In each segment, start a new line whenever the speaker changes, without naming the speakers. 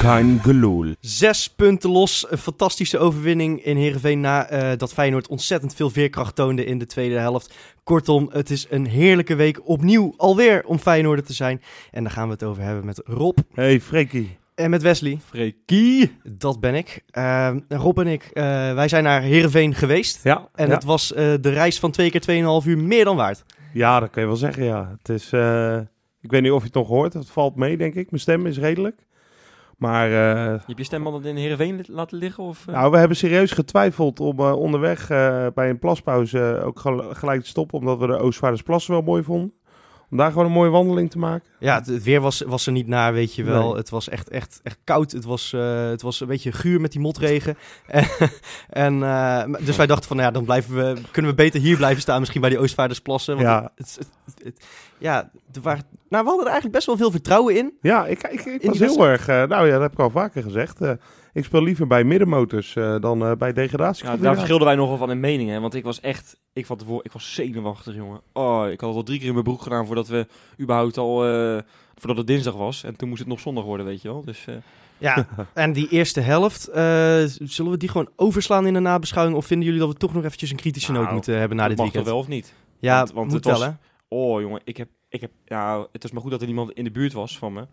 kein geloel.
Zes punten los. Een fantastische overwinning in Heerenveen na eh, dat Feyenoord ontzettend veel veerkracht toonde in de tweede helft. Kortom, het is een heerlijke week opnieuw alweer om Feyenoord te zijn. En daar gaan we het over hebben met Rob
Hey Frekkie.
en met Wesley.
Freekie.
Dat ben ik. Eh, Rob en ik, eh, wij zijn naar Heerenveen geweest.
Ja,
En
ja.
het was eh, de reis van twee keer 2,5 uur meer dan waard.
ja, dat kan je wel zeggen, ja. Het is, eh, ik weet niet of je het nog hoort, het valt mee, denk ik. Mijn stem is redelijk. Maar eh,
Je hebt je stembanden in Heerenveen li- laten liggen? Of, eh?
nou, we hebben serieus getwijfeld om eh, onderweg eh, bij een plaspauze eh, ook gel- gelijk te stoppen, omdat we de Oostvaardersplassen wel mooi vonden. Om daar gewoon een mooie wandeling te maken.
Ja, het, het weer was, was er niet naar, weet je wel.
Nee.
Het was echt, echt, echt koud. Het was, eh, het was een beetje guur met die motregen. en, eh, maar- dus wij dachten van, nou ja, dan blijven we, kunnen we beter hier blijven staan. Misschien bij die Oostvaardersplassen. Want
Ja.
Het, het, het- het- ja, er waren, nou, we hadden er eigenlijk best wel veel vertrouwen in.
Ja, ik, ik, ik
die
was heel erg... eh, nou ja, dat heb ik al vaker gezegd. eh, ik speel liever bij middenmotors eh, dan eh, bij degradatie.
Ja, daar
Nou,
verschilden wij nogal van in mening, hè? Want ik was echt, ik, van tevoren, ik was zenuwachtig, jongen. Oh, ik had het al drie keer in mijn broek gedaan voordat we überhaupt al, eh, voordat het dinsdag was. En toen moest het nog zondag worden, weet je wel. Dus eh,
Ja, en die eerste helft, eh, z- zullen we die gewoon overslaan in de nabeschouwing? Of vinden jullie dat we toch nog eventjes een kritische
Nou,
noot moeten hebben na
dat
dit
mag toch
weekend?
wel of niet?
Ja,
Want- want
moet
het was-
wel, hè?
Oh, jongen, ik heb, ik heb, nou, het was maar goed dat er niemand in de buurt was van me.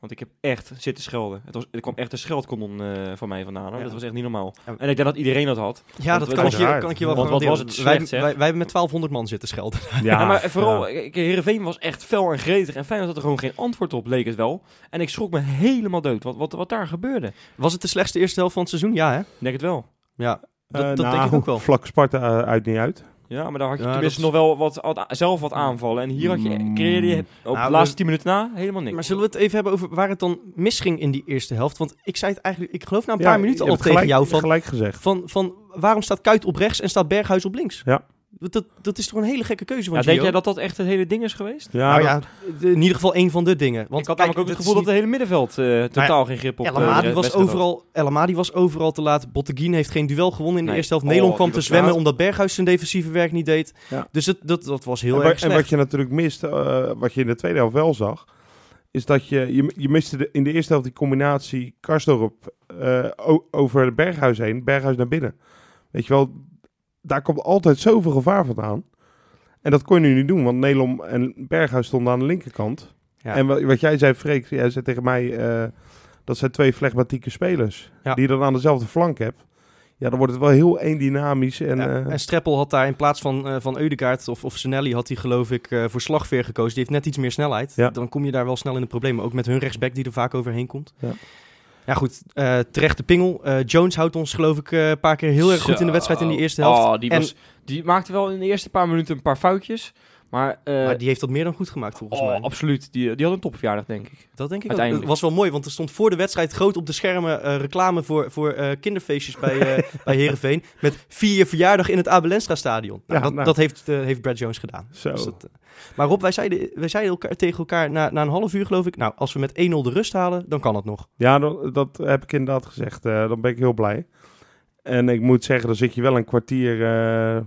Want ik heb echt zitten schelden. Het was, er kwam echt een scheldkolom eh, van mij vandaan, hoor.
Ja.
Dat was echt niet normaal.
Ja.
En ik denk dat iedereen dat had.
Ja, dat
het
kan ik,
was-
je, kan ik je wel
Want wat
garanderen.
was het
wij,
slecht, zeg.
wij, wij hebben met 1200 man zitten schelden.
Ja, maar vooral, ik- Heerenveen was echt fel en gretig. En Feyenoord had er gewoon geen antwoord op, leek het wel. En ik schrok me helemaal dood wat, wat, wat daar gebeurde. Ik
Was het de slechtste eerste helft van het seizoen? Ja, hè?
Denk het wel.
Ja, dat,
Eh,
dat
nou,
denk ik ook wel.
Vlak Sparta eh, uit niet uit.
Ja, maar daar had je
Ja,
tenminste
dat Mm.
nog wel wat, wat a- zelf wat aanvallen. En hier had je,
Mm.
creëerde je
Nou,
op de laatste
dus-
tien minuten na helemaal niks.
Maar zullen we het even hebben over waar het dan misging in die eerste helft? Want ik zei het eigenlijk, ik geloof na een
Ja,
paar minuten
je
al
hebt
tegen
gelijk-
jou van,
gelijk gezegd.
van, van waarom staat Kuit op rechts en staat Berghuis op links?
Ja.
Dat, dat, dat is toch een hele gekke keuze van
ja,
Gio?
denk jij dat dat echt het hele ding is geweest?
Ja,
Nou
dat-
ja, in ieder geval één van de dingen. Want
Want ik had
kijk,
namelijk ook het
is
gevoel dat
niet-
het hele middenveld eh, totaal geen grip op
El
eh,
Amadi
de
was
wedstrijd had.
overal, El Amadi was overal te laat. Botteguin heeft geen duel gewonnen in de
Nee.
eerste helft.
Oh,
Nelon
die
kwam te
was
zwemmen
laat.
omdat Berghuis zijn defensieve werk niet deed.
Ja.
Dus het, dat, dat was heel
en, wa-
erg
en
slecht.
wat je natuurlijk mist, eh, wat je in de tweede helft wel zag, is dat je, je, je miste de, in de eerste helft die combinatie Karsdorp eh, o- over Berghuis heen, Berghuis naar binnen. Weet je wel, daar komt altijd zoveel gevaar vandaan. En dat kon je nu niet doen, want Nelom en Berghuis stonden aan de linkerkant.
Ja.
En wat, wat jij zei, Freek, jij zei tegen mij, eh, dat zijn twee flegmatieke spelers.
Ja.
Die je dan aan dezelfde flank hebt. Ja, dan wordt het wel heel eendynamisch. En,
Ja,
eh,
en Streppel had daar in plaats van, eh van Eudegaard of, of Senelli had hij geloof ik eh, voor Slagveer gekozen. Die heeft net iets meer snelheid.
Ja.
Dan kom je daar wel snel in de problemen. Ook met hun rechtsback die er vaak overheen komt.
Ja.
Ja, goed, eh, terecht de pingel. Eh, Jones houdt ons geloof ik eh, een paar keer heel erg goed in de wedstrijd in die
Zo.
eerste helft.
Oh, die,
En-
was, die maakte wel in de eerste paar minuten een paar foutjes. Maar, eh,
maar die heeft dat meer dan goed gemaakt volgens
oh,
mij.
absoluut. Die, die had een topverjaardag, denk ik.
Dat denk ik ook. Het
Uiteindelijk.
was wel mooi, want er stond voor de wedstrijd groot op de schermen eh, reclame voor, voor eh, kinderfeestjes bij, eh bij Heerenveen. Met vier verjaardag in het Abelenstra stadion. Nou,
Ja,
dat,
nou.
dat heeft, eh, heeft Brad Jones gedaan.
Zo.
Dus dat, eh. maar Rob, wij zeiden, wij zeiden elkaar, tegen elkaar na, na een half uur geloof ik, nou, als we met 1-0 de rust halen, dan kan het nog.
Ja, dat, dat heb ik inderdaad gezegd. Eh, dan ben ik heel blij. En ik moet zeggen, dan zit je wel een kwartier. eh,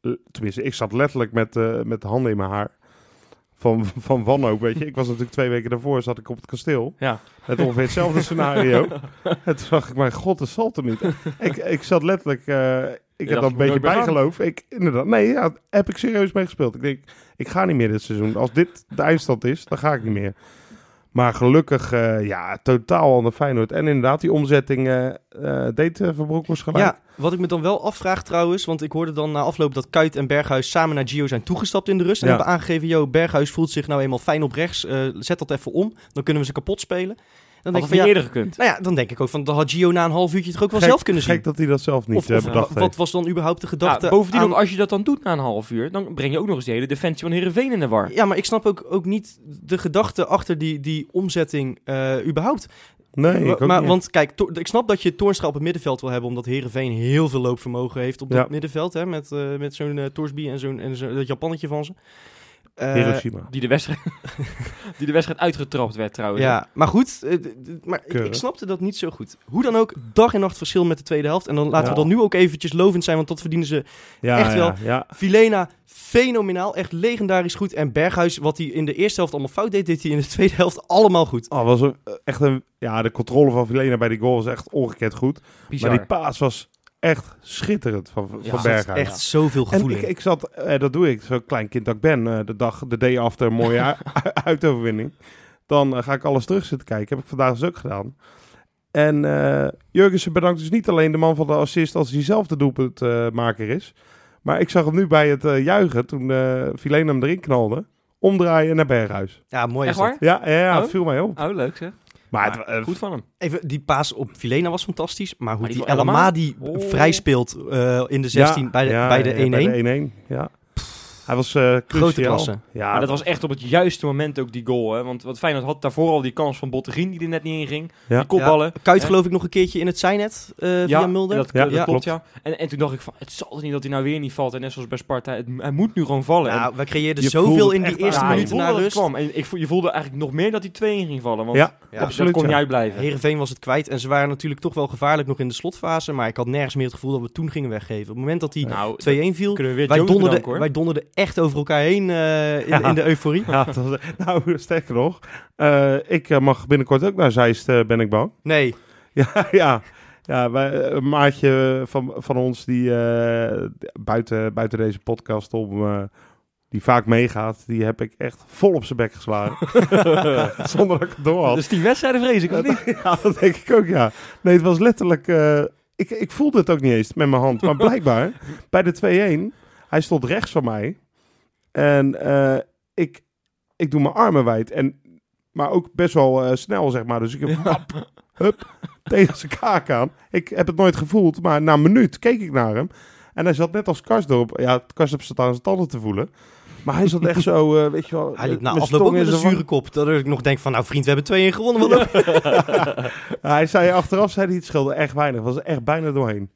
l- tenminste, ik zat letterlijk met, eh, met de handen in mijn haar. Van, van wanhoop, weet je. Ik was natuurlijk twee weken daarvoor, zat ik op het kasteel.
Ja.
Met ongeveer hetzelfde scenario. en toen dacht ik, mijn god, dat zal toch niet. ik, ik zat letterlijk... eh, ik
Je
heb
dacht,
dat een
ik
beetje
moet nooit meer
bijgeloof. Ik, inderdaad, nee, ja, heb ik serieus mee gespeeld. Ik denk, ik ga niet meer dit seizoen. Als dit de eindstand is, dan ga ik niet meer. Maar gelukkig, eh, ja, totaal ander Feyenoord. En inderdaad, die omzetting eh eh deed eh, Verbroek was gelijk.
Ja, wat ik me dan wel afvraag trouwens, want ik hoorde dan na afloop dat Kuit en Berghuis samen naar Gio zijn toegestapt in de rust. En
Ja.
hebben aangegeven, yo, Berghuis voelt zich nou eenmaal fijn op rechts, eh, zet dat even om, dan kunnen we ze kapot spelen. Dan
Had
denk ik
het
van,
niet
ja,
eerder gekund.
nou ja, dan denk ik ook van, dan had Gio na een half uurtje het ook wel
Gek-
zelf kunnen zien.
Gek dat hij dat zelf niet
Of,
eh,
of wa-
bedacht heeft.
wat was dan überhaupt de gedachte?
Ja, Nou, bovendien
eh, aan-
ook, als je dat dan doet na een half uur, dan breng je ook nog eens de hele defensie van Heerenveen in de war.
Ja, maar ik snap ook, ook niet de gedachte achter die, die omzetting eh, überhaupt.
Nee,
Wa-
ik ook
Eh, maar,
niet.
Want kijk, Toor- ik snap dat je Toornstra op het middenveld wil hebben, omdat Herenveen heel veel loopvermogen heeft op
Ja.
het middenveld. Hè, met, eh, met zo'n eh Torsby en zo'n en zo, dat Japannetje van ze. Eh,
Hiroshima.
Die de wedstrijd, die de wedstrijd uitgetrapt werd trouwens.
Ja, maar goed, eh, d- d- maar ik,
Keurig.
ik snapte dat niet zo goed. Hoe dan ook, dag en nacht verschil met de tweede helft. En dan laten we
Ja.
dan nu ook eventjes lovend zijn, want dat verdienen ze.
Ja,
echt
ja,
wel.
Ja,
Vilena, fenomenaal, echt legendarisch goed. En Berghuis, wat hij in de eerste helft allemaal fout deed, deed hij in de tweede helft allemaal goed.
Oh, was een- echt een, ja, de controle van Vilena bij die goal was echt ongekend goed.
Bizar.
Maar die paas was echt schitterend van,
Ja,
van
dat is
Berghuis.
echt zoveel
En
gevoel
ik,
in.
ik zat, eh, dat doe ik, zo'n klein kind dat ik ben, eh, de dag, de day after, een mooie u- uitoverwinning. Dan eh, ga ik alles terug zitten kijken. Heb ik vandaag dus ook gedaan. En eh Jurgensen bedankt dus niet alleen de man van de assist als hij zelf de doelpuntmaker is. Maar ik zag hem nu bij het eh, juichen toen eh Filena hem erin knalde. Omdraaien naar Berghuis.
Ja, mooi is
Echt
dat.
waar?
Ja, ja, ja
Oh?
het viel mij op.
Oh, leuk zeg.
Maar,
Maar
het, eh,
Goed van hem.
Even, die paas op Filena was fantastisch. Maar hoe
Maar die
die
van El
Elma die
Oh.
vrij speelt eh, in de 16
ja,
bij de 1-1.
ja, ja, ja, bij de 1-1, ja. Hij was eh cruciaal.
Grote klasse.
Ja,
Maar dat was echt op het juiste moment ook die goal. Hè? Want wat Feyenoord had daarvoor al die kans van Bottegien die er net niet in ging.
Ja.
Die kopballen.
Ja, Kuit
Hè?
geloof ik nog een keertje in het zijnet eh via Mulder.
Dat,
Ja,
dat
ja.
klopt, ja. En, en toen dacht ik van, het zal toch niet dat hij nou weer niet valt. En net zoals bij Sparta, het, hij moet nu gewoon vallen. En-
Nou, we creëerden
je
zoveel
voelde
in die
echt
eerste
aan.
je
minuten
voelde
na
dat het
rust.
kwam. En ik, vo- je voelde eigenlijk nog meer dat die twee in ging vallen. Want
Ja,
dat-
absoluut,
dat kon
ja.
niet uitblijven.
Heerenveen was het kwijt en ze waren natuurlijk toch wel gevaarlijk nog in de slotfase. Maar ik had nergens meer het gevoel dat we toen gingen weggeven. Op het moment dat die
Nou,
2-1 viel,
kunnen we weer
wij
Jones
donderden,
bedanken, hoor.
wij donderden echt over elkaar heen eh, in,
Ja.
in de euforie.
Ja, dat was- nou, sterker nog. eh, ik eh, mag binnenkort ook naar Zeist, eh, ben ik bang.
Nee,
Ja, ja. ja wij, eh, een maatje van, van ons die eh, buiten, buiten deze podcast om... eh, die vaak meegaat, die heb ik echt vol op zijn bek geslagen. Zonder dat ik het door had.
dus die wedstrijden vrees ik, of niet?
Ja, dat denk ik ook, ja. Nee, het was letterlijk... eh, ik, ik voelde het ook niet eens met mijn hand. Maar blijkbaar, bij de 2-1, hij stond rechts van mij. En eh, ik, ik doe mijn armen wijd. En, maar ook best wel eh, snel, zeg maar. Dus ik heb wap, hup, tegen zijn kaak aan. Ik heb het nooit gevoeld, maar na een minuut keek ik naar hem. En hij zat net als Karsdorp. Ja, Karsdorp zat aan zijn tanden te voelen. Maar hij zat echt zo, eh, weet je wel...
hij liep
met
na
zijn
afloop ook
tong in
met een
zijn wang.
zure kop. Dat ik nog denk van, nou vriend, we hebben 2-1 gewonnen. Wat leuk.
Hij zei achteraf, zei hij, het scheelde echt weinig. Was er echt bijna doorheen.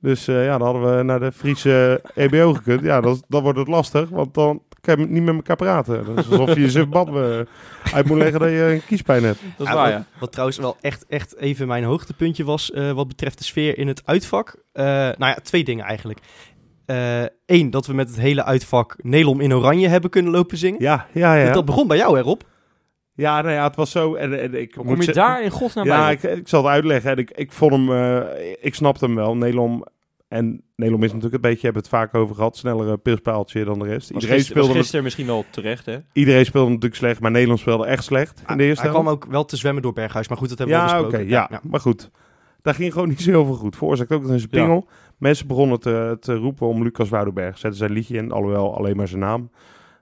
Dus eh, ja, dan hadden we naar de Friese eh, EBO gekund. Ja, dan, dan wordt het lastig, want dan kan je niet met elkaar praten. Dat is alsof je Zimbabwe uit moet leggen dat je een kiespijn hebt.
Dat is
Ja, wat,
waar, ja.
wat trouwens wel echt, echt even mijn hoogtepuntje was eh, wat betreft de sfeer in het uitvak. Eh, nou ja, twee dingen eigenlijk. Eén, dat we met het hele uitvak Nelom in Oranje hebben kunnen lopen zingen.
Ja, ja,
Want
ja.
Dat begon bij jou erop.
Ja, nou ja, het was zo. En, en ik
Hoe
moet
kom je
ze-
daar in godsnaam
Ja,
bij?
ik, ik zal het uitleggen. En ik, ik vond hem, eh, ik snapte hem wel. Nelom, en Nelom is natuurlijk een beetje, hebben we het vaak over gehad, snellere pilspaaltje dan de rest.
Was
Iedereen
gister- was
speelde,
gisteren misschien wel terecht, hè?
iedereen speelde natuurlijk slecht, maar Nederland speelde echt slecht in de eerste
Hij
helft.
kwam ook wel te zwemmen door Berghuis, maar goed, dat hebben we al
ja, oké,
besproken.
ja. maar goed. Daar ging gewoon niet zo heel veel goed. Veroorzaakt ook een spingel. Mensen begonnen te, te roepen om Lucas Woudenberg. Zetten zijn liedje in, alhoewel alleen maar zijn naam.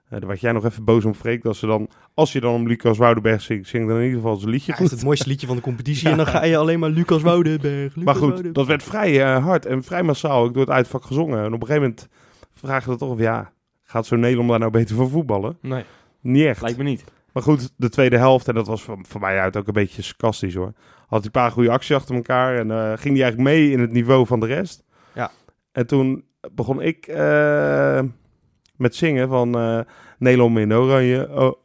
Eh daar werd jij nog even boos om, Freek. Dat ze dan, als je dan om Lucas Woudenberg zingt, zing dan in ieder geval zijn liedje
Hij heeft
goed.
het mooiste liedje van de competitie en dan ga je alleen maar Lucas Woudenberg. Lucas
Maar goed,
Woudenberg.
dat werd vrij eh, hard en vrij massaal ook door het uitvak gezongen. En op een gegeven moment vragen we dat toch of ja, gaat zo'n Nederland daar nou beter voor voetballen?
Nee,
Niet echt.
lijkt me niet.
Maar goed, de tweede helft, en dat was van, van mij uit ook een beetje sarcastisch hoor. Had hij een paar goede acties achter elkaar en eh, ging hij eigenlijk mee in het niveau van de rest.
Ja.
En toen begon ik eh, met zingen van eh Nelom in oranje, oh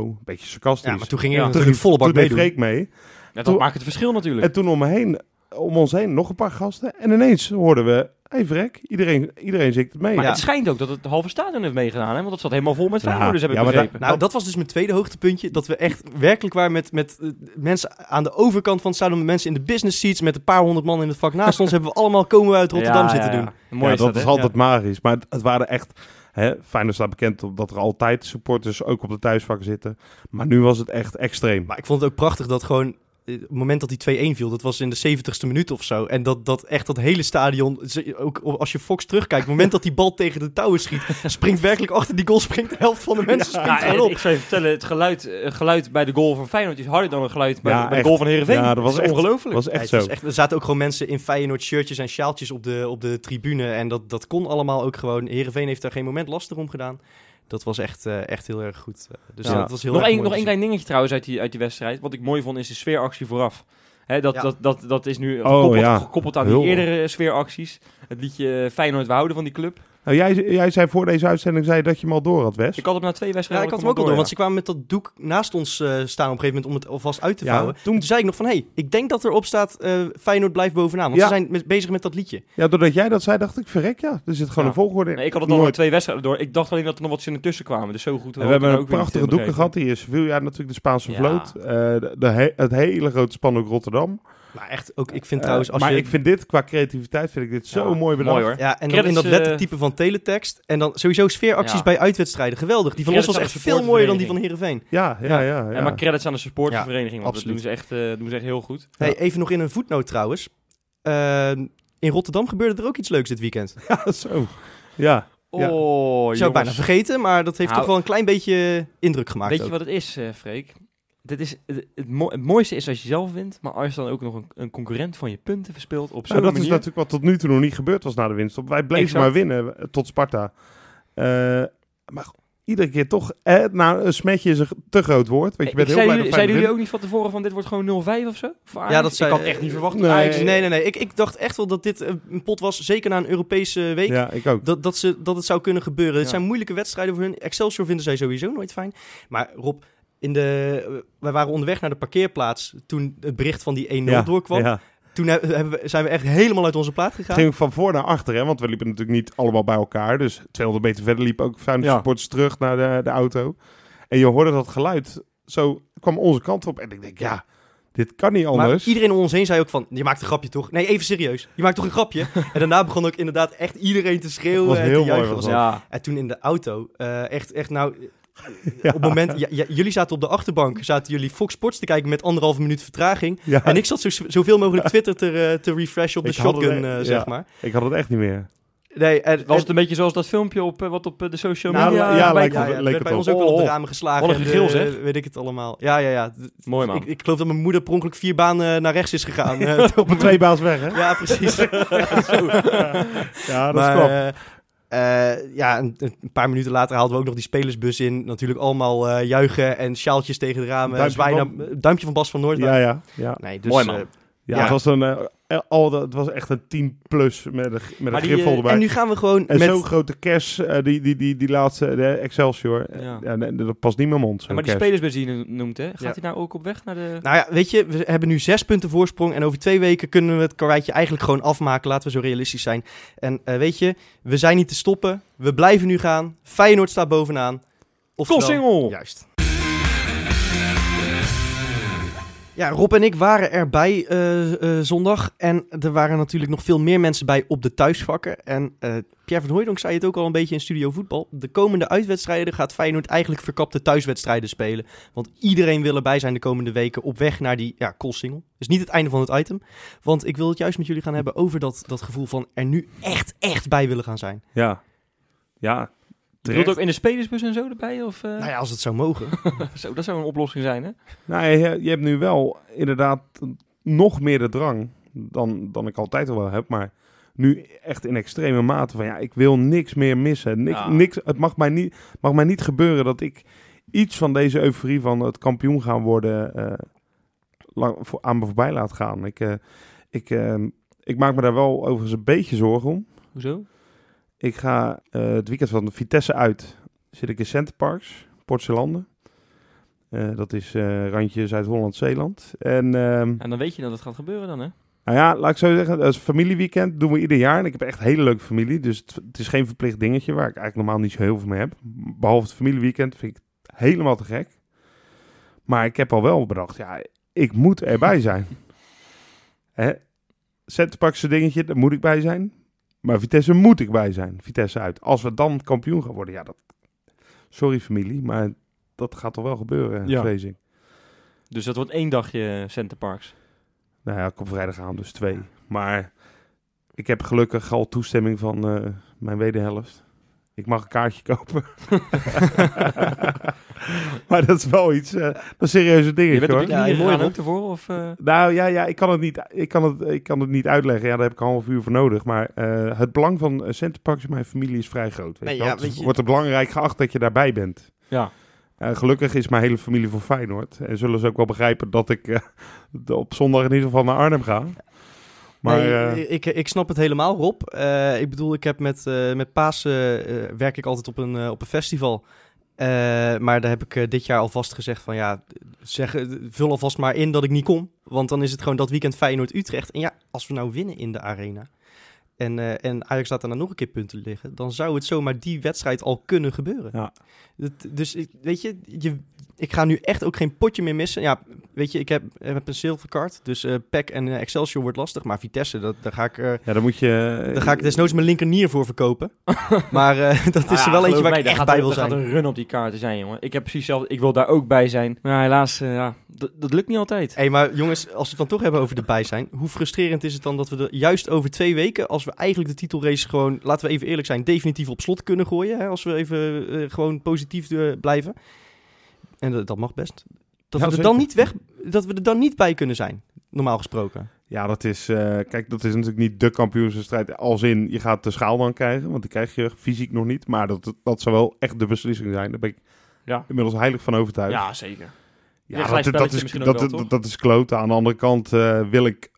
oh. Beetje sarcastisch.
Ja, maar toen ging je
Ja,
natuurlijk volle bak
toen deed
meedoen.
Freek mee.
Ja, dat
Toen-
maakt het verschil natuurlijk.
En toen om, me heen, om ons heen nog een paar gasten. En ineens hoorden we, hey Vrek, iedereen, iedereen zingt het mee.
maar
ja.
het schijnt ook dat het halve stadion heeft meegedaan, hè? Want dat zat helemaal vol met
Ja,
Feyenoorders, heb ik
ja, maar
begrepen.
Nou, dat was dus mijn tweede hoogtepuntje. Dat we echt werkelijk waar met, met eh, mensen aan de overkant van het stadion, met mensen in de business seats, met een paar honderd man in het vak naast ons, hebben we allemaal komen we uit Rotterdam
Ja,
zitten
ja, ja.
doen.
Mooi
ja, dat
hè?
is altijd magisch. Maar het, het waren echt... Hè, Feyenoord staat bekend op dat er altijd supporters ook op de thuisvak zitten. Maar nu was het echt extreem.
Maar ik vond het ook prachtig dat gewoon... eh, Het moment dat die 2-1 viel, dat was in de 70ste minuut of zo. En dat, dat echt dat hele stadion, ze- ook o- als je Fox terugkijkt, het moment dat die bal tegen de touwen schiet, springt werkelijk achter die goal, springt de helft van de mensen springt
Ja, en
erop.
ik zou je vertellen, het geluid, eh, geluid bij de goal van Feyenoord is harder dan het geluid bij,
Ja,
de- bij de
echt.
goal van Heerenveen.
Ja, dat was
is
echt-
ongelooflijk.
was
Ja,
echt
het
zo.
was echt- er zaten ook gewoon mensen in Feyenoord shirtjes en sjaaltjes op de, op de tribune. En dat, dat kon allemaal ook gewoon. Heerenveen heeft daar geen moment lastig om gedaan. Dat was echt, eh, echt heel erg goed. Eh, Dus
Ja.
dat was heel
nog
erg
één,
mooi te
nog één
zien.
klein dingetje trouwens uit die, uit die wedstrijd. Wat ik mooi vond is de sfeeractie vooraf. Hè, dat,
Ja.
dat, dat, dat is nu
Oh,
gekoppeld,
ja.
gekoppeld aan die
Heel.
eerdere sfeeracties. Het liedje eh, Feyenoord, we houden van die club.
Nou, jij, jij zei voor deze uitzending zei je dat je hem al door had, Wes.
Ik had hem na twee
Ja,
wedstrijden.
ik had hem ook al door,
ja.
want ze kwamen met dat doek naast ons eh, staan op een gegeven moment om het alvast uit te
Ja,
vouwen.
toen-
Toen zei ik nog van, hé, hey, ik denk dat erop staat eh, Feyenoord blijft bovenaan, want
Ja.
ze zijn met- bezig met dat liedje.
Ja, doordat jij dat zei, dacht ik, verrek ja. Er zit gewoon
Ja.
een volgorde in.
Nee, ik had het al
Nooit.
met twee wedstrijden door. Ik dacht alleen dat er nog wat zinnen tussen kwamen. Dus zo goed.
En
had
we
ik
hebben
het
een
ook weer niet,
prachtige
eh,
doeken
begrepen.
gehad hier. Sevilla natuurlijk de Spaanse
Ja.
vloot. eh, de, de he- het hele grote spandoek Rotterdam.
Maar echt, ook, ik vind trouwens,
Eh,
als
maar
je...
ik vind dit, qua creativiteit, vind ik dit zo
Ja,
mooi bedacht.
Mooi hoor.
Ja, en dan
Credits,
in dat
eh,
lettertype van teletext. En dan sowieso sfeeracties
Ja.
bij uitwedstrijden. Geweldig. Die van ons
Credits
was
aan
echt
de
veel mooier dan die van
supportervereniging.
Heerenveen.
Ja, ja, ja. ja.
En maar credits aan de supportervereniging, want dat
absoluut.
doen ze, echt, eh, doen ze echt heel goed.
Ja.
Hey, even nog in een voetnoot trouwens. Ehm, in Rotterdam gebeurde er ook iets leuks dit weekend.
Ja, zo. Ja. Ja.
Oh,
Zou ik bijna
jongens.
vergeten, maar dat heeft
Nou,
toch wel een klein beetje indruk gemaakt.
Weet je
ook.
wat het is, eh, Freek? Dit is, het, het mo- het mooiste is als je zelf wint, maar als je dan ook nog een, een concurrent van je punten verspeelt op zo'n
Nou, dat is
manier.
natuurlijk wat tot nu toe nog niet gebeurd was na de winst. Wij bleven
Exact.
maar winnen eh, tot Sparta. Eh, maar go- iedere keer toch... Eh, nou, een smetje is een g- te groot woord. Want je bent
Ik-
heel
Eh,
blij
zeiden jullie,
dat Feyenoord
zeiden jullie
wint.
ook niet van tevoren van dit wordt gewoon 0-5 of zo? Voor Ajax?
Ja, dat
Ik
zei-
had echt niet verwacht.
Nee.
Ajax-
Nee, nee, nee. Ik, ik dacht echt wel dat dit eh, een pot was, zeker na een Europese week.
Ja, ik ook.
Dat, dat, ze, dat het zou kunnen gebeuren. Het
Ja.
zijn moeilijke wedstrijden voor hun. Excelsior vinden zij sowieso nooit fijn. Maar Rob, in de, eh, wij waren onderweg naar de parkeerplaats toen het bericht van die 1-0
ja,
doorkwam.
Ja.
Toen he- hebben we, zijn we echt helemaal uit onze plaat gegaan.
Het ging van voor naar achter, hè? want we liepen natuurlijk niet allemaal bij elkaar. Dus 200 meter verder liepen ook Feyenoord
Ja.
supporters terug naar de, de auto. En je hoorde dat geluid. Zo kwam onze kant op. En ik denk, ja, dit kan niet
maar
anders.
iedereen om ons heen zei ook van, je maakt een grapje toch? Nee, even serieus. Je maakt toch een grapje? en daarna begon ook inderdaad echt iedereen te schreeuwen
Was
en
heel
te
mooi,
juichen.
was
Was
dat.
Ja.
En toen in de auto, eh, echt, echt nou...
Ja.
Op het moment, ja, ja, jullie zaten op de achterbank, zaten jullie Fox Sports te kijken met anderhalve minuut vertraging.
Ja,
En
ik,
ik zat zo, zoveel mogelijk Twitter te, eh, te refreshen op de
Ik had het,
shotgun,
eh,
eh,
ja.
zeg maar.
had het echt niet meer.
Nee, eh, en,
Was
en-
het een beetje zoals dat filmpje op, eh, wat op eh, de social
Nou,
media...
ja,
eh,
lijkt
bij-
het-
er
leek
werd bij
op.
ons ook wel op de
Oh,
ramen geslagen.
wat een
en de-
gegil, zeg.
Weet ik het allemaal. Ja, ja, ja. D-
Mooi man.
Ik, ik geloof dat mijn moeder per ongeluk vier banen naar rechts is gegaan. eh,
Op een tweebaas weg, hè?
ja, precies.
Ja, dat
maar,
klopt.
eh, eh, ja, een, een paar minuten later haalden we ook nog die spelersbus in. Natuurlijk allemaal eh, juichen en sjaaltjes tegen de ramen.
Duimpje
Duimpje,
van-
duimpje van Bas van Noord.
Ja, ja, ja.
Nee, dus,
Mooi, man.
eh,
Ja,
Ja.
Het, was een, eh, al dat, het was echt een 10 plus met een, met een
Maar die,
griffel
eh,
erbij.
en nu gaan we gewoon
En
met...
zo'n grote kers, eh, die, die, die, die laatste, de Excelsior. eh,
Ja.
Ja. nee, dat past niet in mijn mond, zo'n
maar die
kers.
spelersbus die je no- noemt, hè? gaat
Ja.
hij nou ook op weg naar de...
Nou ja, weet je, we hebben nu zes punten voorsprong. En over twee weken kunnen we het karweitje eigenlijk gewoon afmaken. Laten we zo realistisch zijn. En eh, weet je, we zijn niet te stoppen. We blijven nu gaan. Feyenoord staat bovenaan. Oftewel-
Kossingel!
Juist. Ja, Rob en ik waren erbij eh, eh, zondag. En er waren natuurlijk nog veel meer mensen bij op de thuisvakken. En eh, Pierre van Hooijdonk zei het ook al een beetje in Studio Voetbal. De komende uitwedstrijden gaat Feyenoord eigenlijk verkapte thuiswedstrijden spelen. Want iedereen wil erbij zijn de komende weken op weg naar die ja, single. Dus niet het einde van het item. Want ik wil het juist met jullie gaan hebben over dat, dat gevoel van er nu echt, echt bij willen gaan zijn.
Ja. Ja.
Je
Terecht.
wilt ook in de spelersbus en zo erbij? Of, eh,
Nou ja, als het zou mogen.
zo, dat zou een oplossing zijn, hè?
Nou, je, je hebt nu wel inderdaad nog meer de drang dan, dan ik altijd al wel heb. Maar nu echt in extreme mate van ja, ik wil niks meer missen. Niks,
Ja.
niks, het mag mij, niet, mag mij niet gebeuren dat ik iets van deze euforie van het kampioen gaan worden eh, lang, voor, aan me voorbij laat gaan. Ik, eh, ik, eh, ik maak me daar wel overigens een beetje zorgen om.
Hoezo?
Ik ga eh, het weekend van Vitesse uit. Zit ik in Centerparks, Portselanden. Eh, dat is eh, randje Zuid-Holland-Zeeland. En ehm,
En dan weet je dat het gaat gebeuren dan, hè?
nou ja, laat ik zo zeggen, dat is familieweekend. doen we ieder jaar. En ik heb echt een hele leuke familie. Dus het, het is geen verplicht dingetje waar ik eigenlijk normaal niet zo heel veel mee heb. Behalve het familieweekend vind ik het helemaal te gek. Maar ik heb al wel bedacht, ja, ik moet erbij zijn. Hè? Centerparkse dingetje, daar moet ik bij zijn. Maar Vitesse moet ik bij zijn. Vitesse uit. Als we dan kampioen gaan worden, ja, dat... Sorry familie, maar dat gaat toch wel gebeuren,
Ja.
vrees ik.
Dus dat wordt één dagje eh, Center Parks.
Nou ja, ik kom vrijdag aan, dus twee. Maar ik heb gelukkig al toestemming van eh, mijn wederhelft. Ik mag een kaartje kopen. maar dat is wel iets, eh, dat is een serieuze
Je
dingetje
bent op
hoor.
je
Ja,
knieën
mooi,
gegaan
hoor.
ook ervoor? Of, eh,
Nou ja, ja ik, kan het niet, ik, kan het, ik kan het niet uitleggen. Ja, daar heb ik een half uur voor nodig. Maar eh, het belang van eh, Centerparks in mijn familie is vrij groot. Weet
Nee,
je wel.
ja,
Het is-
weet je-
Wordt er belangrijk geacht dat je daarbij bent.
Ja.
Eh, gelukkig is mijn hele familie voor Feyenoord. En zullen ze ook wel begrijpen dat ik eh, de- op zondag in ieder geval naar Arnhem ga. Maar eh,
nee, ik, ik snap het helemaal, Rob. Eh, ik bedoel, ik heb met, eh met Pasen eh, werk ik altijd op een, eh, op een festival. Eh, maar daar heb ik eh, dit jaar alvast gezegd van ja, zeg, eh, vul alvast maar in dat ik niet kom. Want dan is het gewoon dat weekend Feyenoord-Utrecht. En ja, als we nou winnen in de arena en, eh, en Ajax laat er dan nog een keer punten liggen... dan zou het zomaar die wedstrijd al kunnen gebeuren.
Ja.
Dat- dus ik- weet je, je, ik ga nu echt ook geen potje meer missen. Ja, weet je, ik heb, ik heb een zilverkaart. Dus eh PEC en eh, Excelsior wordt lastig. Maar Vitesse, dat, daar, ga ik, eh
ja, dan moet je...
daar
Eh,
ga ik desnoods mijn linkernier voor verkopen. maar eh, dat
Nou
is er wel eentje waar ik echt bij wil zijn.
gaat een run op die kaarten zijn, jongen. Ik heb precies zelf, ik wil daar ook bij zijn. Maar ja, helaas, eh, ja, dat- dat lukt niet altijd.
Hé, hey, maar jongens, als we het dan toch hebben over de bij zijn. Hoe frustrerend is het dan dat we er juist over twee weken, als we eigenlijk de titelrace gewoon, laten we even eerlijk zijn, definitief op slot kunnen gooien. Hè, als we even eh, gewoon positief eh, blijven. En dat, dat mag best. Dat,
Ja,
we er dan niet weg, dat we er dan niet bij kunnen zijn, normaal gesproken.
Ja, dat is... eh, kijk, dat is natuurlijk niet de kampioensstrijd. Als in, je gaat de schaal dan krijgen. Want die krijg je fysiek nog niet. Maar dat, dat zou wel echt de beslissing zijn. Daar ben ik
Ja.
inmiddels heilig van overtuigd.
Ja, zeker. Ja,
Ja, dat,
gelijkspelletje
dat, is,
misschien ook
dat,
wel,
dat-
toch?
dat is kloten. Aan de andere kant eh, wil ik...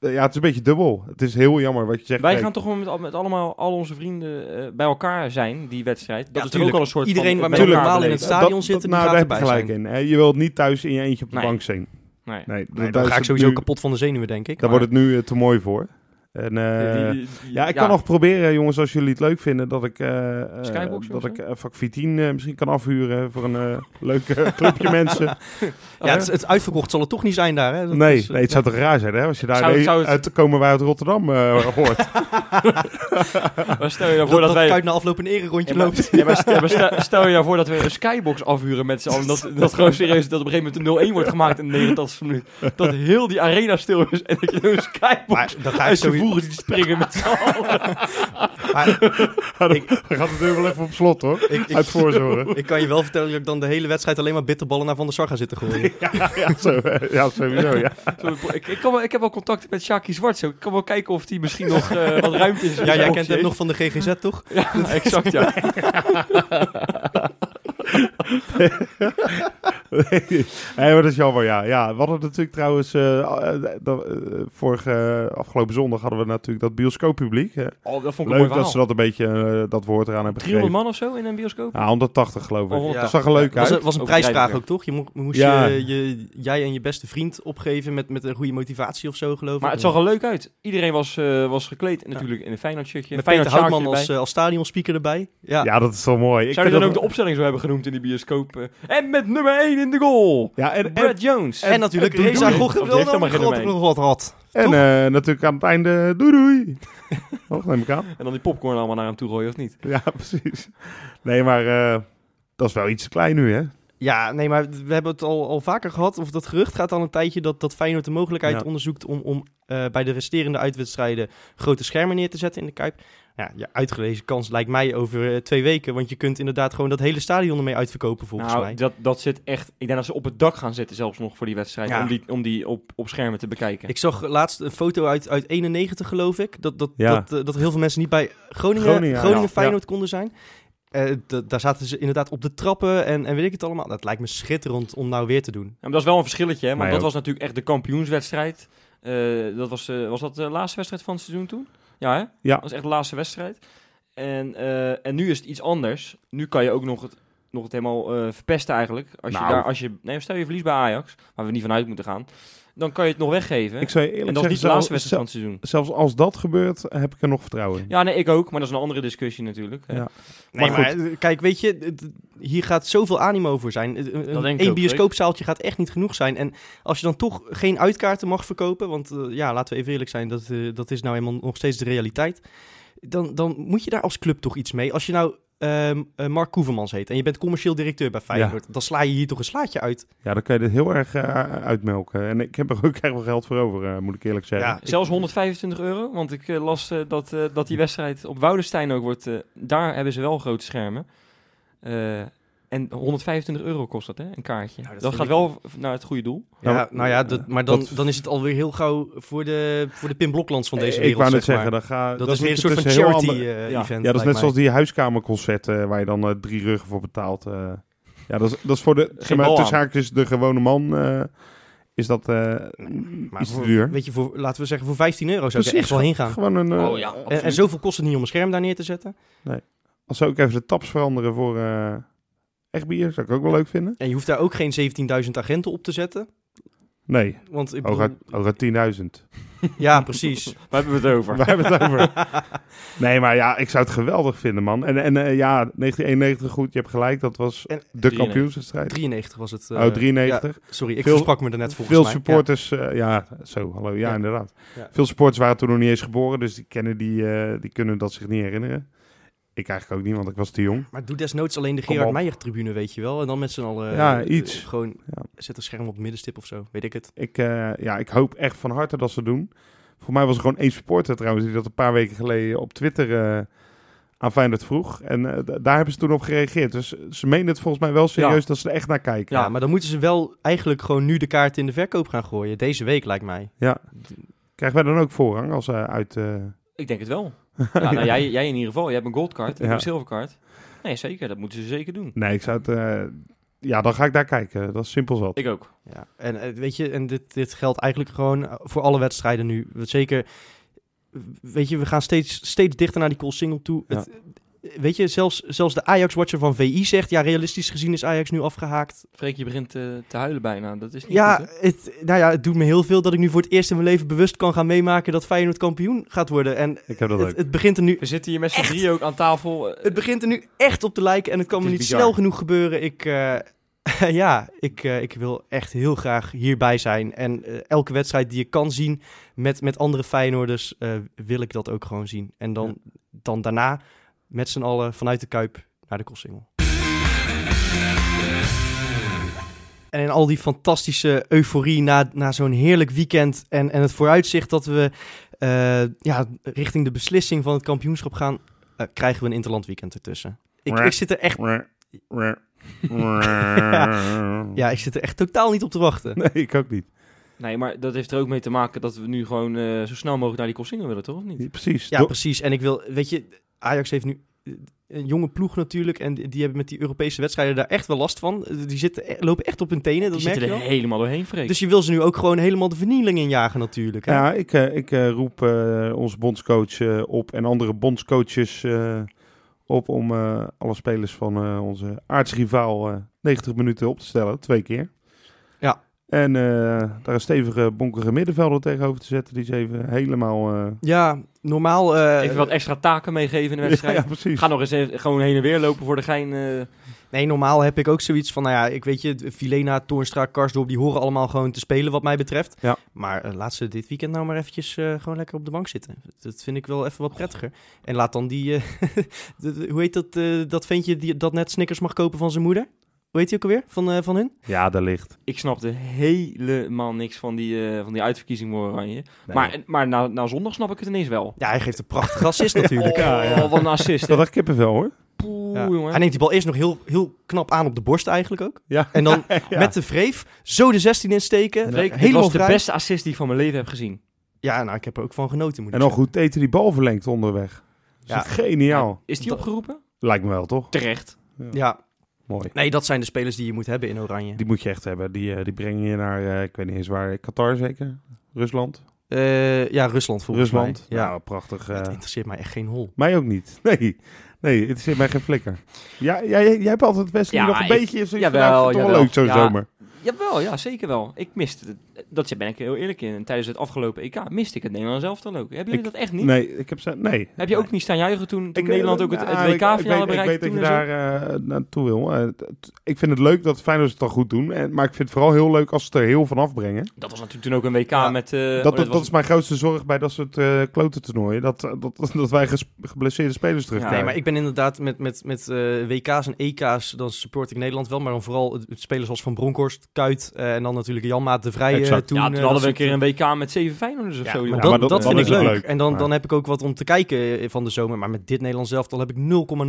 eh, ja, het is een beetje dubbel. Het is heel jammer wat je zegt.
Wij
Freek.
gaan toch wel met, al- met allemaal al onze vrienden eh, bij elkaar zijn, die wedstrijd. Dat
Ja,
is toch
tuurlijk.
ook al een soort
Iedereen
van...
waarmee
bij
we
elkaar
normaal in het
beleven.
Dat-
stadion
dat-
zitten,
nou,
die
daar
gaat
heb je
erbij
gelijk in. hè. Je wilt niet thuis in je eentje op de
Nee.
bank zijn.
Nee.
Nee,
Nee,
dat-
daar
daar
ga
is
ik
het
sowieso
nu-
kapot van de zenuwen, denk ik.
Daar
Maar-
wordt het nu eh, te mooi voor. En, eh,
Die- die-
ja, ik kan nog proberen, jongens, als jullie het leuk vinden, dat ik, eh, eh,
Skybox of
dat
zo?
ik eh, vak 14 eh, misschien kan afhuren voor een eh, leuke clubje mensen.
ja, het, het uitverkocht zal het toch niet zijn daar. Hè? Dat
Nee,
is, eh,
nee, het zou toch raar zijn, hè? Als je daar
Zou-
nee,
zou het-
uit komen wij uit Rotterdam eh, hoort.
Maar Stel je nou
dat,
voor
dat,
dat wij...
Kuit na afloop een ererondje
Ja, maar-
loopt.
ja, maar stel- ja, maar stel- Stel je nou voor dat we een skybox afhuren met z'n allen. Dat, dat gewoon serieus dat op een gegeven moment een 0-1 wordt gemaakt in de 89 minuut. Dat heel die arena stil is en dat je door een skybox
Maar dan ga ik
uit de
sowieso...
voegen ziet springen met z'n allen.
maar-
Dan gaat het deur wel even op slot, hoor.
Ik, ik,
Uit voorzorgen.
ik kan je wel vertellen dat ik dan de hele wedstrijd alleen maar bitterballen naar Van der Sar ga zitten gooien.
ja, ja, zo, eh, ja, sowieso, ja.
Zo, ik, ik, kan wel, ik heb wel contact met Sjaki Zwart. Zo. Ik kan wel kijken of die misschien nog eh, wat ruimte is. in
Ja,
zijn
jij
boxje
kent hem
heeft.
nog van de GGZ, toch?
Ja, exact ja.
Nee, maar dat is jammer, ja. ja. We hadden natuurlijk trouwens... eh, eh, dat- eh, vorige, eh, afgelopen zondag hadden we natuurlijk dat bioscooppubliek. hè.
Oh, dat vond ik een
Leuk
mooi
dat ze
verhaal.
dat een beetje eh, dat woord eraan hebben
300
gegeven.
man of zo in een bioscoop?
Ja, 180 geloof ik.
Oh,
ja.
Dat zag er leuk
Dat was,
uit.
een- was een
Overdrijven
prijsvraag
weer.
ook, toch? Je mo- moest
Ja.
je, je- jij en je beste vriend opgeven met, met een goede motivatie of zo, geloof ik.
Maar het zag er leuk uit. Iedereen was, eh, was gekleed en natuurlijk in een Feyenoord shirtje.
Met
Feyenoord
Peter Houtman
sjaakje
als, eh, als stadionspeaker erbij. Ja.
Ja. dat is wel mooi.
erbij.
Ik
Zou je
vind
dan ook de
dat-
opstelling zo hebben genoemd in die bioscoop? eh? en met nummer 1 in de goal.
Ja, en, en,
Brad Jones.
En, natuurlijk
en-
Reza
doe-
Gocht
doe- die heeft helemaal geen
nog
domein.
nog wat had.
en eh, natuurlijk aan het einde eh, doei doei. Toch, neem ik aan.
En dan die popcorn allemaal naar hem toe gooien, of niet?
Ja, precies. Nee, maar eh, dat is wel iets te klein nu, hè?
Ja, nee, maar we hebben het al, al vaker gehad. Of dat gerucht gaat al een tijdje dat, dat Feyenoord de mogelijkheid
Ja.
onderzoekt om, om eh, bij de resterende uitwedstrijden grote schermen neer te zetten in de Kuip. Ja, je uitgelezen kans lijkt mij over eh, twee weken. Want je kunt inderdaad gewoon dat hele stadion ermee uitverkopen volgens
nou,
mij.
Dat, dat zit echt... Ik denk dat ze op het dak gaan zitten zelfs nog voor die wedstrijd.
Ja.
Om die, om die op, op schermen te bekijken.
Ik zag laatst een foto uit, uit 91 geloof ik. Dat, dat,
Ja.
dat, eh, dat heel veel mensen niet bij Groningen,
Groningen,
Groningen,
ja.
Feyenoord konden zijn. Eh, d- daar zaten ze inderdaad op de trappen en, en weet ik het allemaal. Dat lijkt me schitterend om nou weer te doen.
Ja, maar dat is wel een verschilletje, hè?
Mij
Want dat
ook.
was natuurlijk echt de kampioenswedstrijd. Eh, dat was, eh, was dat de laatste wedstrijd van het seizoen toen? Ja, hè?
Ja.
Dat was echt de laatste wedstrijd. En, eh, en nu is het iets anders. Nu kan je ook nog het, nog het helemaal eh, verpesten eigenlijk. Als
Nou.
je daar, als je, nee, stel je verlies bij Ajax, waar we niet vanuit moeten gaan. Dan kan je het nog weggeven.
Ik zou je eerlijk
en dat is
zeggen,
niet de laatste
zelfs,
wedstrijd van het seizoen.
zelfs als dat gebeurt, heb ik er nog vertrouwen in.
Ja, nee, ik ook. Maar dat is een andere discussie natuurlijk. hè.
Ja.
Nee,
Maar
maar, eh, kijk, weet je, het- het- hier gaat zoveel animo voor zijn. Eh, Een,
denk ik
één
ook,
bioscoopzaaltje gaat echt niet genoeg zijn. En als je dan toch geen uitkaarten mag verkopen, want eh, ja, laten we even eerlijk zijn, dat, eh, dat is nou helemaal nog steeds de realiteit. Dan, dan moet je daar als club toch iets mee. Als je nou ehm, eh, Mark Koevermans heet en je bent commercieel directeur bij Feyenoord, dan sla je hier toch een slaatje uit.
Ja, dan kan je dit heel erg eh, uitmelken. En ik heb er ook echt wel geld voor over, eh, moet ik eerlijk zeggen.
Ja.
Zelfs 125 euro, want ik eh, las eh, dat, eh, dat die wedstrijd op Woudenstein ook wordt. eh, daar hebben ze wel grote schermen. Eh, en 125 euro kost dat, hè? Een kaartje.
Nou, dat
dat
vind
gaat
ik-
wel v- naar het goede doel.
Ja,
Ja,
maar-
nou ja, dat, maar dan,
dat-
dan is het alweer heel gauw voor de, voor de Pim Bloklands van deze
ik
wereld.
wou net
zeg maar.
zeggen, dan ga,
dat, is weer een soort van
natuurlijk een heel
charity
ander-
eh,
Ja.
event.
Ja, dat
lijkt
is net
mij.
zoals die huiskamerconcerten waar je dan eh, drie ruggen voor betaalt. eh. Ja, dat is, dat is voor de, zeg maar,
bal
tussen
aan.
haakjes de gewone man eh, is dat eh,
Maar
iets te
voor-
duur.
Weet je, voor, laten we zeggen, voor 15 euro zou ik er
Precies.
echt wel heen gaan.
Gewoon een... eh,
Oh ja,
En, en
absoluut.
zoveel kost het niet om een scherm daar neer te zetten.
Als zou ik even de taps veranderen voor eh, echt bier, zou ik ook wel leuk vinden.
En je hoeft daar ook geen 17.000 agenten op te zetten.
Nee,
Want ik
hooguit,
bedoel-
hooguit 10.000.
Ja, precies.
Waar hebben we het over?
Waar hebben we het over? Nee, maar ja, ik zou het geweldig vinden, man. En, en eh, ja, 1991, goed, je hebt gelijk, dat was
En-
de
93.
kampioenswedstrijd.
93 was het. eh,
oh, 93.
ja, sorry, ik
Veel-
sprak me er net volgens
Veel
mij.
supporters, eh, ja. zo, hallo, ja,
Ja.
inderdaad.
Ja.
Veel supporters waren toen nog niet eens geboren, dus die, kennen die, eh, die kunnen dat zich niet herinneren. Ik eigenlijk ook niet, want ik was te jong.
Ja. Maar doe desnoods alleen de
Kom
Gerard
op.
Meijer-tribune, weet je wel. En dan met z'n allen... eh,
Ja, iets.
Gewoon,
Ja.
zet een scherm op het middenstip of zo. Weet ik het.
Ik, eh, ja, ik hoop echt van harte dat ze het doen. Voor mij was er gewoon één supporter trouwens die dat een paar weken geleden op Twitter eh, aan Feyenoord vroeg. En eh, d- daar hebben ze toen op gereageerd. Dus ze menen het volgens mij wel serieus
Ja.
dat ze er echt naar kijken.
Ja, maar dan moeten ze wel eigenlijk gewoon nu de kaart in de verkoop gaan gooien. Deze week, lijkt mij.
Krijgen wij dan ook voorrang als eh, uit... eh,
Ik denk het wel. ja, nou, jij, jij in ieder geval. Je hebt een goldcard, ik
Ja.
heb een zilvercard. Nee, zeker. Dat moeten ze zeker doen.
Nee, ik zou het... eh, ja, dan ga ik daar kijken. Dat is simpel zat.
Ik ook.
Ja. En eh, weet je, en dit, dit geldt eigenlijk gewoon eh, voor alle wedstrijden nu. Want Zeker, eh, weet je, we gaan steeds, steeds dichter naar die cool single toe.
Ja.
Het, eh, weet je, zelfs, zelfs de Ajax-watcher van VI zegt... ja, realistisch gezien is Ajax nu afgehaakt.
Freek, je begint eh, te huilen bijna. Dat is niet
Ja,
goed, hè?
het, nou ja, het doet me heel veel dat ik nu voor het eerst in mijn leven... bewust kan gaan meemaken dat Feyenoord kampioen gaat worden. En
Ik heb dat
het,
ook.
het begint er nu
We zitten hier met z'n drie ook aan tafel. eh,
Het begint er nu echt op te lijken en het kan
Het
me niet
is bizar.
snel genoeg gebeuren. Ik, eh, ja, ik, eh, ik wil echt heel graag hierbij zijn. En eh, elke wedstrijd die je kan zien met, met andere Feyenoorders, eh, wil ik dat ook gewoon zien. En dan, dan daarna met z'n allen vanuit de Kuip naar de Kossingel. En in al die fantastische euforie na, na zo'n heerlijk weekend en, en het vooruitzicht dat we eh, ja, richting de beslissing van het kampioenschap gaan, eh, krijgen we een interland weekend ertussen. Ik, ik zit er echt, ja, ik zit er echt totaal niet op te wachten.
Nee, ik ook niet.
Nee, maar dat heeft er ook mee te maken dat we nu gewoon eh, zo snel mogelijk naar die Kossingen willen, toch? Of niet?
Precies.
Ja,
Do-
precies. En ik wil, weet je, Ajax heeft nu eh, een jonge ploeg natuurlijk. En die die hebben met die Europese wedstrijden daar echt wel last van. Eh, Die zitten, eh, lopen echt op hun tenen, dat
Die
merk
zitten
je
er
wel.
helemaal doorheen, Freek.
Dus je wil ze nu ook gewoon helemaal de vernieling injagen natuurlijk. Hè?
Ja, ik, eh, ik eh, roep eh, onze bondscoach eh, op en andere bondscoaches eh, op om eh, alle spelers van eh, onze aardsrivaal eh 90 minuten op te stellen, twee keer.
Ja.
En eh, daar een stevige, bonkige middenvelder tegenover te zetten, die ze even helemaal... eh,
Ja, normaal... eh,
Even wat extra taken meegeven in de
ja,
wedstrijd.
ja, precies.
Ga nog eens even, gewoon heen en weer lopen voor de gein. eh.
Nee, normaal heb ik ook zoiets van, nou ja, ik weet je, Filena, Toornstra, Karsdorp, die horen allemaal gewoon te spelen wat mij betreft.
Ja.
Maar eh, laat ze dit weekend nou maar eventjes eh, gewoon lekker op de bank zitten. Dat vind ik wel even wat prettiger. En laat dan die, eh, de- de- hoe heet dat, eh, dat ventje die, dat net Snickers mag kopen van zijn moeder? Hoe heet die ook alweer, van, eh, van hun?
Ja, daar ligt.
ik snapte helemaal niks van die, eh, van die uitverkiezing voor Oranje. Maar, maar na, na zondag snap ik het ineens wel.
Ja, hij geeft een prachtige assist natuurlijk.
Ja, ja.
Oh, wat een assist. hè.
dat echt kippenvel hoor.
Poeh,
Ja.
jongen.
Hij neemt die bal eerst nog heel, heel knap aan op de borst eigenlijk ook.
Ja.
En dan
Ja.
met de vreef zo de 16 insteken.
Freek, dit
helemaal
was de
vrij.
beste assist die ik van mijn leven heb gezien.
Ja, nou, ik heb er ook van genoten, moet ik
En nog goed Tete die bal verlengt onderweg. Dat is
Ja.
echt geniaal.
Is die
Dat-
opgeroepen?
Lijkt me wel, toch?
Terecht.
zeggen. Ja,
Mooi.
Nee, dat zijn de spelers die je moet hebben in Oranje.
Die moet je echt hebben. Die, eh, die breng je naar, eh, ik weet niet eens waar, Qatar zeker? Rusland?
Eh, ja, Rusland volgens
Rusland.
mij.
Ja,
Ja,
prachtig.
het
eh,
interesseert mij echt geen hol.
mij ook niet. Nee, nee het zit mij geen flikker. Ja, jij, jij hebt altijd het beste
Ja,
nog een
ik-
beetje... Zoiets van,
jawel,
nou, ik vind het toch wel
jawel.
leuk zo'n
Ja.
zomer.
Jawel, ja, zeker wel. Ik miste het. Dat ben ik heel eerlijk in. En tijdens het afgelopen EK miste ik het Nederland zelf dan ook. Hebben jullie dat echt niet?
Nee, ik heb ze... Nee.
Heb je ook niet staan juichen toen, toen Nederland ook het, het
Nou, ik- ik weet-
WK-finale
Ik
bereikte
weet dat
toen
je
en zo?
daar eh, naartoe wil. Eh, t- t- ik vind het leuk dat Feyenoord het al goed doen. En, maar ik vind het vooral heel leuk als ze het er heel van afbrengen.
Dat was natuurlijk toen ook een WK
Ja,
met... eh, oh,
dat, dat, dat is mijn grootste zorg bij dat soort eh klote toernooien. Dat, dat, dat, dat wij ges- geblesseerde spelers terugkrijgen.
Nee, maar ik ben inderdaad met, met, met eh, WK's en EK's, dan support ik Nederland wel. Maar dan vooral het, het spelers als Van Bronckhorst, Kuit eh, en dan natuurlijk Janmaat de Vrij. eh,
Exact.
toen
ja,
eh,
toen
dat
hadden we een
soort-
keer een WK met zeven Feyenoorders of
Ja,
zo.
maar
joh.
dat,
maar dat-
dat
dan
vind ik
is het
leuk.
leuk.
En dan,
Ja.
dan heb ik ook wat om te kijken eh, van de zomer. Maar met dit Nederlands elftal heb ik 0,0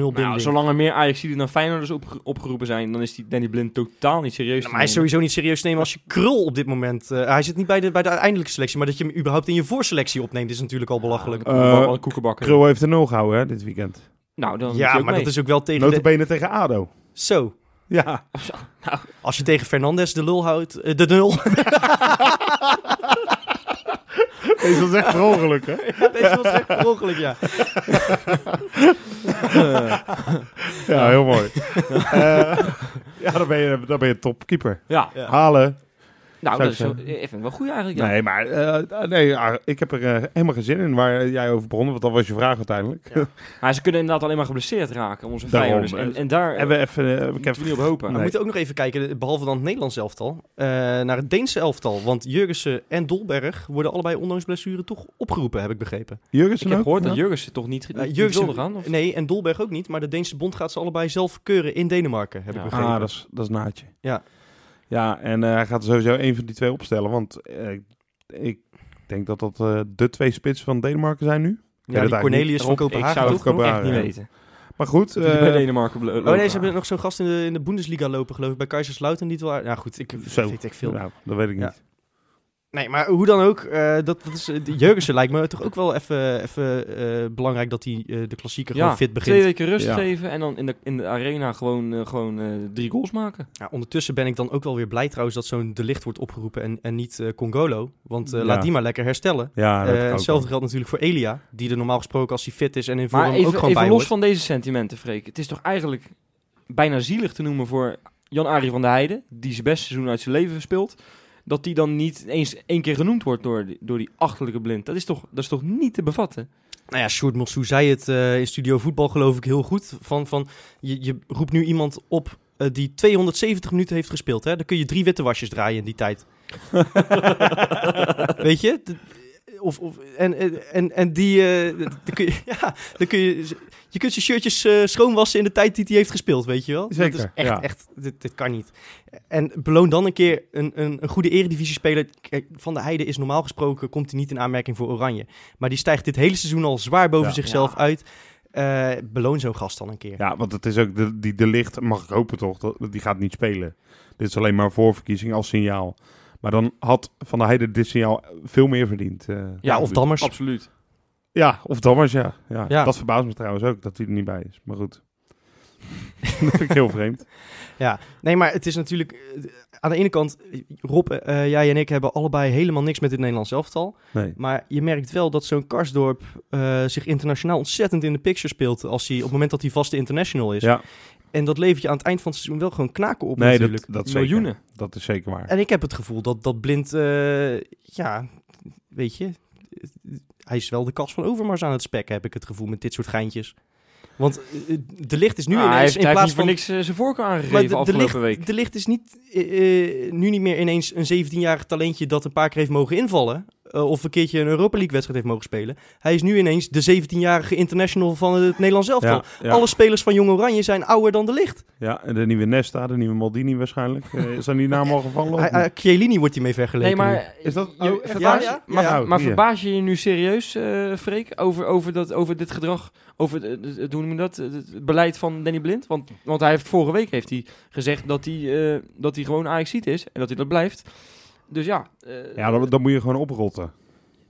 binding.
Nou, zolang er meer Ajaxiden dan Feyenoorders opge- opgeroepen zijn, dan is die Danny Blind totaal niet serieus.
Nou,
te
maar hij is
nemen.
sowieso niet serieus te nemen als je krul op dit moment... eh, hij zit niet bij de, bij de uiteindelijke selectie, maar dat je hem überhaupt in je voorselectie opneemt is natuurlijk al belachelijk.
Eh,
Wat- wat een koekenbakker.
Krul heeft de nul gehouden hè, dit weekend.
Nou, dan doet
ja,
hij ook
maar
mee.
dat is ook wel tegen de-
Notabene tegen ADO.
Zo.
Ja.
Als je tegen Fernandes de lul houdt, eh, de nul.
Is dat echt per ongeluk, hè?
Deze was echt per ongeluk, ja.
Ja, heel mooi. Eh, ja, dan ben je, dan ben je topkeeper.
Ja,
Ja.
Halen.
nou,
Zou
dat
ik
is wel,
zeggen.
eh, vind ik wel goed eigenlijk. Ja.
Nee, maar eh, nee, ja, ik heb er eh, helemaal geen zin in waar jij over begon, want dat was je vraag uiteindelijk.
Ja. Maar ze kunnen inderdaad alleen maar geblesseerd raken, onze
Daarom,
vijanders.
eh,
En, en daar
Hebben we even... eh, ik heb
moeten we niet op hopen.
Nee.
We moeten ook nog even kijken, behalve dan het Nederlands elftal, eh, naar het Deense elftal. Want Jurgensen en Dolberg worden allebei ondanks blessure toch opgeroepen, heb ik begrepen.
Jurgensen
Ik heb
ook?
gehoord dat
Ja.
Jurgensen toch niet, niet,
Eh,
niet
Jurgensen-
wilde gaan? Of?
Nee, en Dolberg ook niet, maar de Deense bond gaat ze allebei zelf keuren in Denemarken, heb
Ja.
ik begrepen.
Ah, dat is, dat is naadje.
Ja.
Ja, en eh, hij gaat sowieso één van die twee opstellen, want eh, ik denk dat dat eh, de twee spitsen van Denemarken zijn nu.
ja, die
eigenlijk
Cornelius van
Rob,
Kopenhagen.
Ik zou het
toch nog?
Kopenhagen.
echt niet
Ja.
weten.
Maar goed,
Die bij
eh,
Denemarken blo-
Oh
lopen.
nee, ze hebben nog zo'n gast in de, in de Bundesliga lopen, geloof ik, bij Kaiserslautern. Niet waar. Nou goed, ik
Zo.
weet ik veel.
nou, dat weet ik
Ja.
niet.
Nee, maar hoe dan ook, eh, dat, dat is, eh, die Jurgensen lijkt me toch ook wel even, even eh, belangrijk dat hij eh, de klassieker
Ja,
gewoon fit
Twee
begint.
weken rust
Ja.
geven en dan in de, in de arena gewoon, eh, gewoon eh, drie goals maken.
Ja, ondertussen ben ik dan ook wel weer blij trouwens dat zo'n de licht wordt opgeroepen en, en niet eh, Congolo. Want eh,
Ja.
laat die maar lekker herstellen.
Ja, dat
Eh,
kan ook
hetzelfde
wel.
geldt natuurlijk voor Elia, die er normaal gesproken als hij fit is en in
Maar
vorm ook
even,
gewoon
even
bij
los
hoort.
van deze sentimenten, Freek. Het is toch eigenlijk bijna zielig te noemen voor Jan-Arie van der Heijden, die zijn beste seizoen uit zijn leven speelt, dat die dan niet eens één keer genoemd wordt door die, door die achterlijke blind. Dat is, toch, dat is toch niet te bevatten?
Nou ja, Sjoerd Mossou zei het eh, in Studio Voetbal geloof ik heel goed. Van, van, je, je roept nu iemand op eh, die 270 minuten heeft gespeeld. Hè? Dan kun je drie witte wasjes draaien in die tijd. Weet je? De- of, of, en, en- en, en die... eh, dan kun je, ja, dan kun je, je kunt zijn shirtjes eh, schoonwassen in de tijd die hij heeft gespeeld, weet je wel? Dat
Zeker,
is echt,
ja.
echt dit, dit kan niet. En beloon dan een keer een, een, een goede eredivisie-speler. Kijk, Van der Heijden is normaal gesproken, komt hij niet in aanmerking voor Oranje. Maar die stijgt dit hele seizoen al zwaar boven
Ja.
zichzelf
Ja.
uit. Eh, beloon zo'n gast dan een keer.
Ja, want het is ook de, die de licht, mag ik hopen toch, dat, die gaat niet spelen. Dit is alleen maar een voorverkiezing als signaal. Maar dan had Van der Heijden dit signaal veel meer verdiend. eh.
Ja, of Dammers.
Absoluut.
Ja, of Dammers, ja. Ja,
Ja.
Dat verbaast me trouwens ook, dat hij er niet bij is. Maar goed. dat vind ik heel vreemd.
Nee, maar het is natuurlijk... eh, aan de ene kant, eh, Rob, eh, jij en ik hebben allebei helemaal niks met het Nederlands elftal.
Nee.
Maar je merkt wel dat zo'n Karsdorp eh, zich internationaal ontzettend in de picture speelt. Als hij, op het moment dat hij vaste international is.
Ja.
En dat levert je aan het eind van het seizoen wel gewoon knaken Dus op
Nee,
natuurlijk.
dat, dat zeker.
Miljoenen.
Dat is zeker waar.
En ik heb het gevoel dat, dat Blind, eh, ja, weet je, hij is wel de kast van Overmars aan het spekken, heb ik het gevoel, met dit soort geintjes. Want eh, de licht is nu
Ah,
ineens
hij heeft,
in
hij
plaats
heeft niet voor
van...
niks eh, zijn voorkeur
Maar
aangegeven
de, de, licht,
afgelopen week.
de licht is niet, eh, eh, nu niet meer ineens een 17-jarig talentje dat een paar keer heeft mogen invallen. eh, of een keertje een Europa League wedstrijd heeft mogen spelen. Hij is nu ineens de 17-jarige international van het Nederlands elftal.
ja, ja,
Alle spelers van Jong Oranje zijn ouder dan de licht.
ja, en de nieuwe Nesta, de nieuwe Maldini waarschijnlijk. Eh, zijn die namen al gevallen? of
Hij-
niet?
hij- Chiellini wordt hiermee vergeleken.
Nee,
nu.
maar...
Is dat-
je-
oh, echt
verbaas-
waar? Ja, ja.
Maar,
Ja.
maar
Ja.
verbaas je je nu serieus, eh Freek, over, over, dat, over dit gedrag, over het- het- het- hoe noem je dat, het- het beleid van Danny Blind? Want, want hij heeft vorige week heeft hij gezegd dat hij, eh, dat hij gewoon Ajaxiet is en dat hij dat blijft. Dus ja, eh,
ja, dan, dan moet je gewoon oprotten.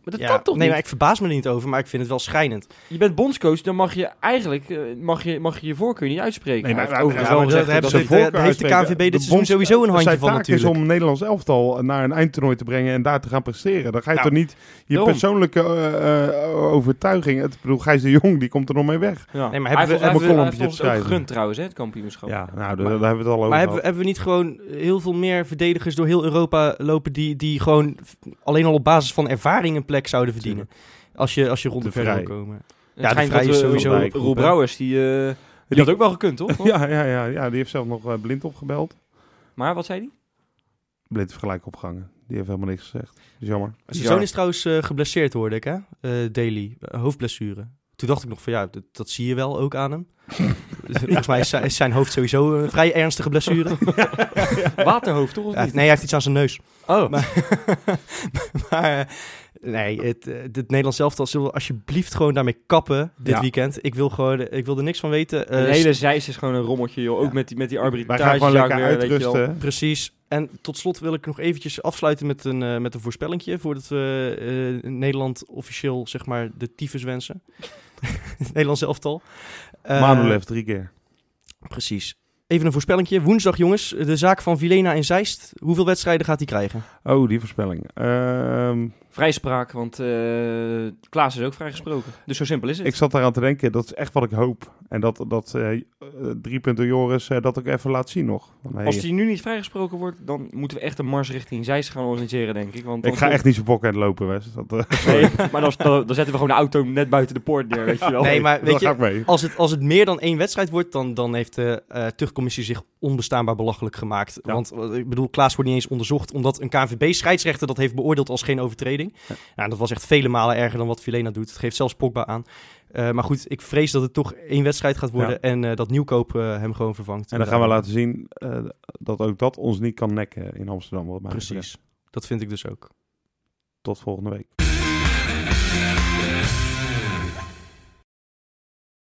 maar dat
Ja,
kan toch
nee,
niet?
maar ik verbaas me er niet over, maar ik vind het wel schrijnend.
Je bent bondscoach, dan mag je eigenlijk eh, mag je, mag je, je voorkeur niet uitspreken.
Nee, maar-
Hij heeft overigens
ja,
wel
maar dat
gezegd dat,
hebben
dat,
ze- daar heeft de KNVB dit seizoen sowieso een handje
zijn
van
taak
natuurlijk.
is om Nederlands elftal naar een eindtoernooi te brengen en daar te gaan presteren. Dan ga je
Nou,
toch niet je
daarom.
persoonlijke eh, eh, overtuiging... Het, ik bedoel, Gijs de Jong, die komt er nog mee weg.
ja.
Nee, maar hebben we-
Hij heeft-
hebben
hij
we
heeft- hij
kolompje
heeft ons
te
ook
schrijven?
gegund trouwens, hè, het kampioenschap.
Ja, nou, daar, daar hebben we het al over
Maar hebben, we-
gehad.
hebben we niet gewoon heel veel meer verdedigers door heel Europa lopen die, die gewoon f- alleen al op basis van ervaring een plek zouden verdienen? Als je, als je rond
De
de verder wil
Vrij.
komen.
Het
Ja, de
schijnt
Vrij
dat,
is
eh,
sowieso
Roel-
een groep,
Roel
hè?
Brouwers, die, eh, die,
Die-
had ook wel gekund, toch?
Ja, ja, ja, ja, die heeft zelf nog eh, blind opgebeld.
Maar wat zei hij?
Blind heeft gelijk opgehangen. Die heeft helemaal niks gezegd. Dat is jammer.
Zijn zoon is trouwens eh, geblesseerd, hoorde ik, hè? Eh daily. Eh, hoofdblessure. Toen dacht ik nog van ja, dat, dat zie je wel ook aan hem. Dus Volgens mij is zijn, is zijn hoofd sowieso een vrij ernstige blessure.
Waterhoofd, toch? Of
Ja,
niet?
nee, hij heeft iets aan zijn neus.
Oh,
Maar, maar, eh, nee, het, eh, dit Nederlands elftal zullen we alsjeblieft gewoon daarmee kappen dit
Ja.
weekend. Ik wil, gewoon, ik wil er niks van weten. Eh,
de hele zijs is gewoon een rommeltje, joh. Ook
Ja.
met die, met die
Wij gaan
arbitrage.
gewoon lekker uitrusten. hè?
Precies. En tot slot wil ik nog eventjes afsluiten met een, eh, met een voorspellingje. Voordat we eh, Nederland officieel zeg maar, de tyfus wensen. Het Nederlands elftal. Eh,
Manuel heeft drie keer.
Precies. Even een voorspellingje. Woensdag, jongens, de zaak van Vilena in Zeist. Hoeveel wedstrijden gaat hij krijgen?
Oh, die voorspelling. Ehm,
Vrijspraak, want eh, Klaas is ook vrijgesproken. Dus zo simpel is het.
ik zat daaraan te denken, dat is echt wat ik hoop. En dat, dat eh, eh, drie punten Joris eh, dat ook even laat zien nog. Van, hey,
Als die nu niet vrijgesproken wordt, dan moeten we echt een mars richting Zeist gaan organiseren, denk ik. Want dan
ik ga echt niet zo bokken lopen, Wes. Dat, eh,
Nee, maar dan, dan, dan zetten we gewoon de auto net buiten de poort neer, weet je wel.
Nee, maar
daar
weet
ga
je,
ik mee.
als het, als het meer dan één wedstrijd wordt, dan, dan heeft de eh tuchtcommissie zich onbestaanbaar belachelijk gemaakt.
Ja.
Want eh, ik bedoel, Klaas wordt niet eens onderzocht, omdat een KNVB-scheidsrechter dat heeft beoordeeld als geen overtreding. Nou, dat was echt vele malen erger dan wat Vilena doet. Het geeft zelfs Pogba aan. Eh, maar goed, ik vrees dat het toch één wedstrijd gaat worden
Ja.
en eh, dat Nieuwkoop eh, hem gewoon vervangt.
En dan gaan we laten zien eh, dat ook dat ons niet kan nekken in Amsterdam. Wat mij betreft.
Precies. Dat vind ik dus ook.
Tot volgende week.
Thank you.